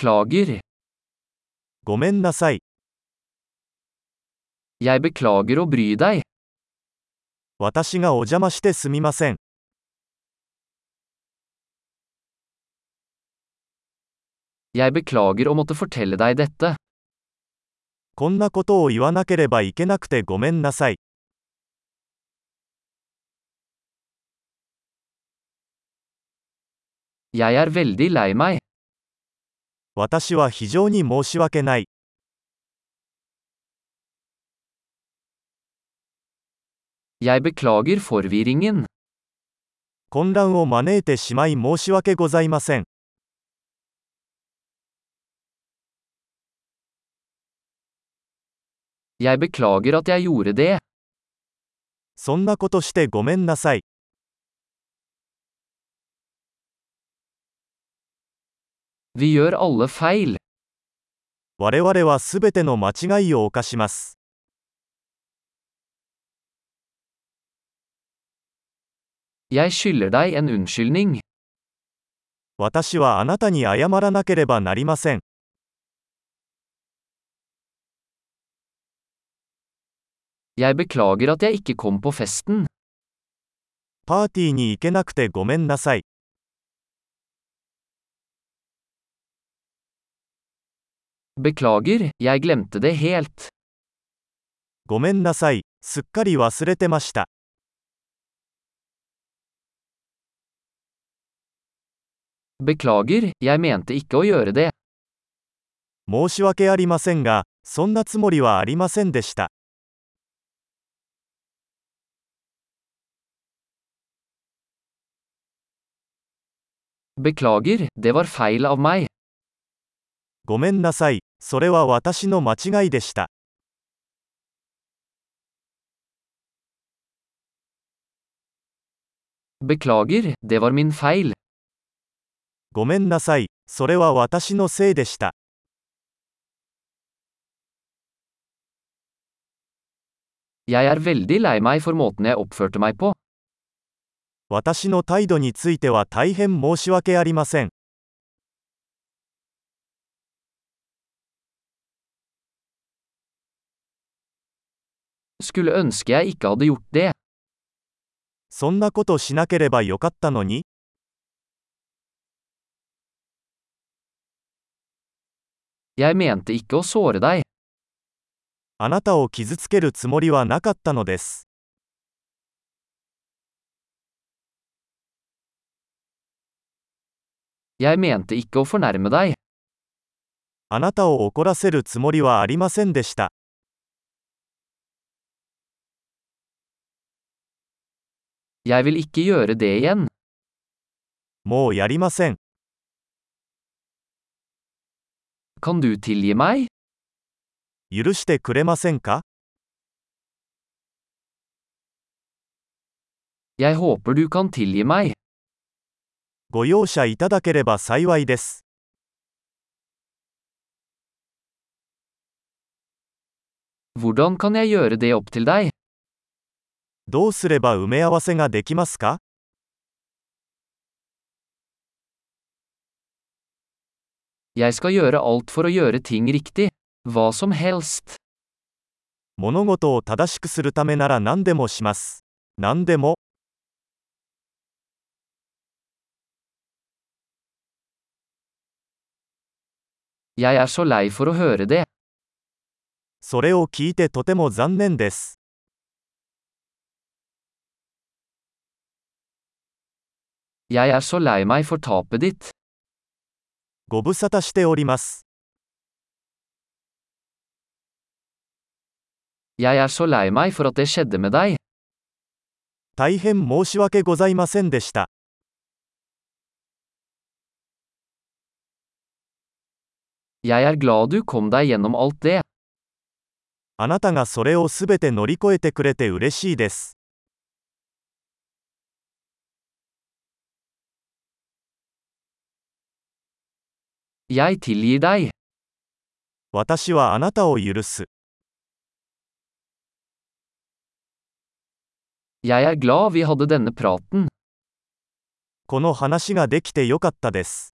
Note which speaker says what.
Speaker 1: Beklager.
Speaker 2: ごめんなさい。
Speaker 1: Jeg beklager å bry deg.
Speaker 2: 私がお邪魔してすみません。
Speaker 1: Jeg beklager å måtte fortelle deg dette.
Speaker 2: こんなことを言わなければいけなくてごめんなさい。
Speaker 1: Jeg er veldig lei meg.
Speaker 2: 私は非常に申し訳ない。
Speaker 1: Jeg beklager forvirringen.
Speaker 2: 混乱を招いてしまい申し訳ございません。
Speaker 1: Jeg beklager at jeg gjorde det.
Speaker 2: そんなことしてごめんなさい。
Speaker 1: Vi gjør alle feil.
Speaker 2: 我々はすべての間違いを犯します。
Speaker 1: Jeg skylder deg en unnskyldning.
Speaker 2: 私はあなたに謝らなければなりません。
Speaker 1: Jeg beklager at jeg ikke kom på festen.
Speaker 2: パーティーに行けなくてごめんなさい。
Speaker 1: Beklager, jeg glemte det helt.
Speaker 2: ごめんなさい。すっかり忘れてました。
Speaker 1: Beklager, jeg mente ikke å gjøre det.
Speaker 2: 申し訳ありませんが、そんなつもりはありませんでした。
Speaker 1: Beklager, det var feil av meg.
Speaker 2: ごめんなさい。それは私の間違いでした。
Speaker 1: Beklager, det var min feil.
Speaker 2: ごめんなさい。それは私のせいでした。
Speaker 1: Jeg er veldig lei meg for måten jeg oppførte meg på.
Speaker 2: 私の態度については大変申し訳ありません。
Speaker 1: Skulle ønske jeg ikke hadde gjort det.
Speaker 2: そんなことしなければよかったのに、
Speaker 1: Jeg mente ikke å såre deg.
Speaker 2: あなたを傷つけるつもりはなかったのです。
Speaker 1: Jeg mente ikke å fornærme deg.
Speaker 2: あなたを怒らせるつもりはありませんでした。
Speaker 1: Jeg vil ikke gjøre det igjen.
Speaker 2: もうやりません。
Speaker 1: Kan du tilgi meg?
Speaker 2: 許してくれませんか
Speaker 1: Jeg håper du kan tilgi meg.
Speaker 2: ご容赦いただければ幸いです。
Speaker 1: Hvordan kan jeg gjøre det opp til deg?
Speaker 2: どうすれば埋め合わせができますか
Speaker 1: Jeg skal gjøre alt for å gjøre ting riktig. Hva som helst.
Speaker 2: 物事を正しくするためなら何でもします。何でも、
Speaker 1: Jeg er så lei for å høre det.
Speaker 2: それを聞いてとても残念です。
Speaker 1: Jeg er så lei meg for tapet ditt.
Speaker 2: ご無沙汰しております。
Speaker 1: Jeg er så lei meg for at det skjedde med deg.
Speaker 2: 大変申し訳ございませんでした。
Speaker 1: Jeg er glad du kom deg gjennom alt det.
Speaker 2: あなたがそれをすべて乗り越えてくれて嬉しいです。
Speaker 1: Jeg tilgir deg.
Speaker 2: 私はあなたを許す。
Speaker 1: Jeg er glad vi hadde denne praten.
Speaker 2: この話ができてよかったです。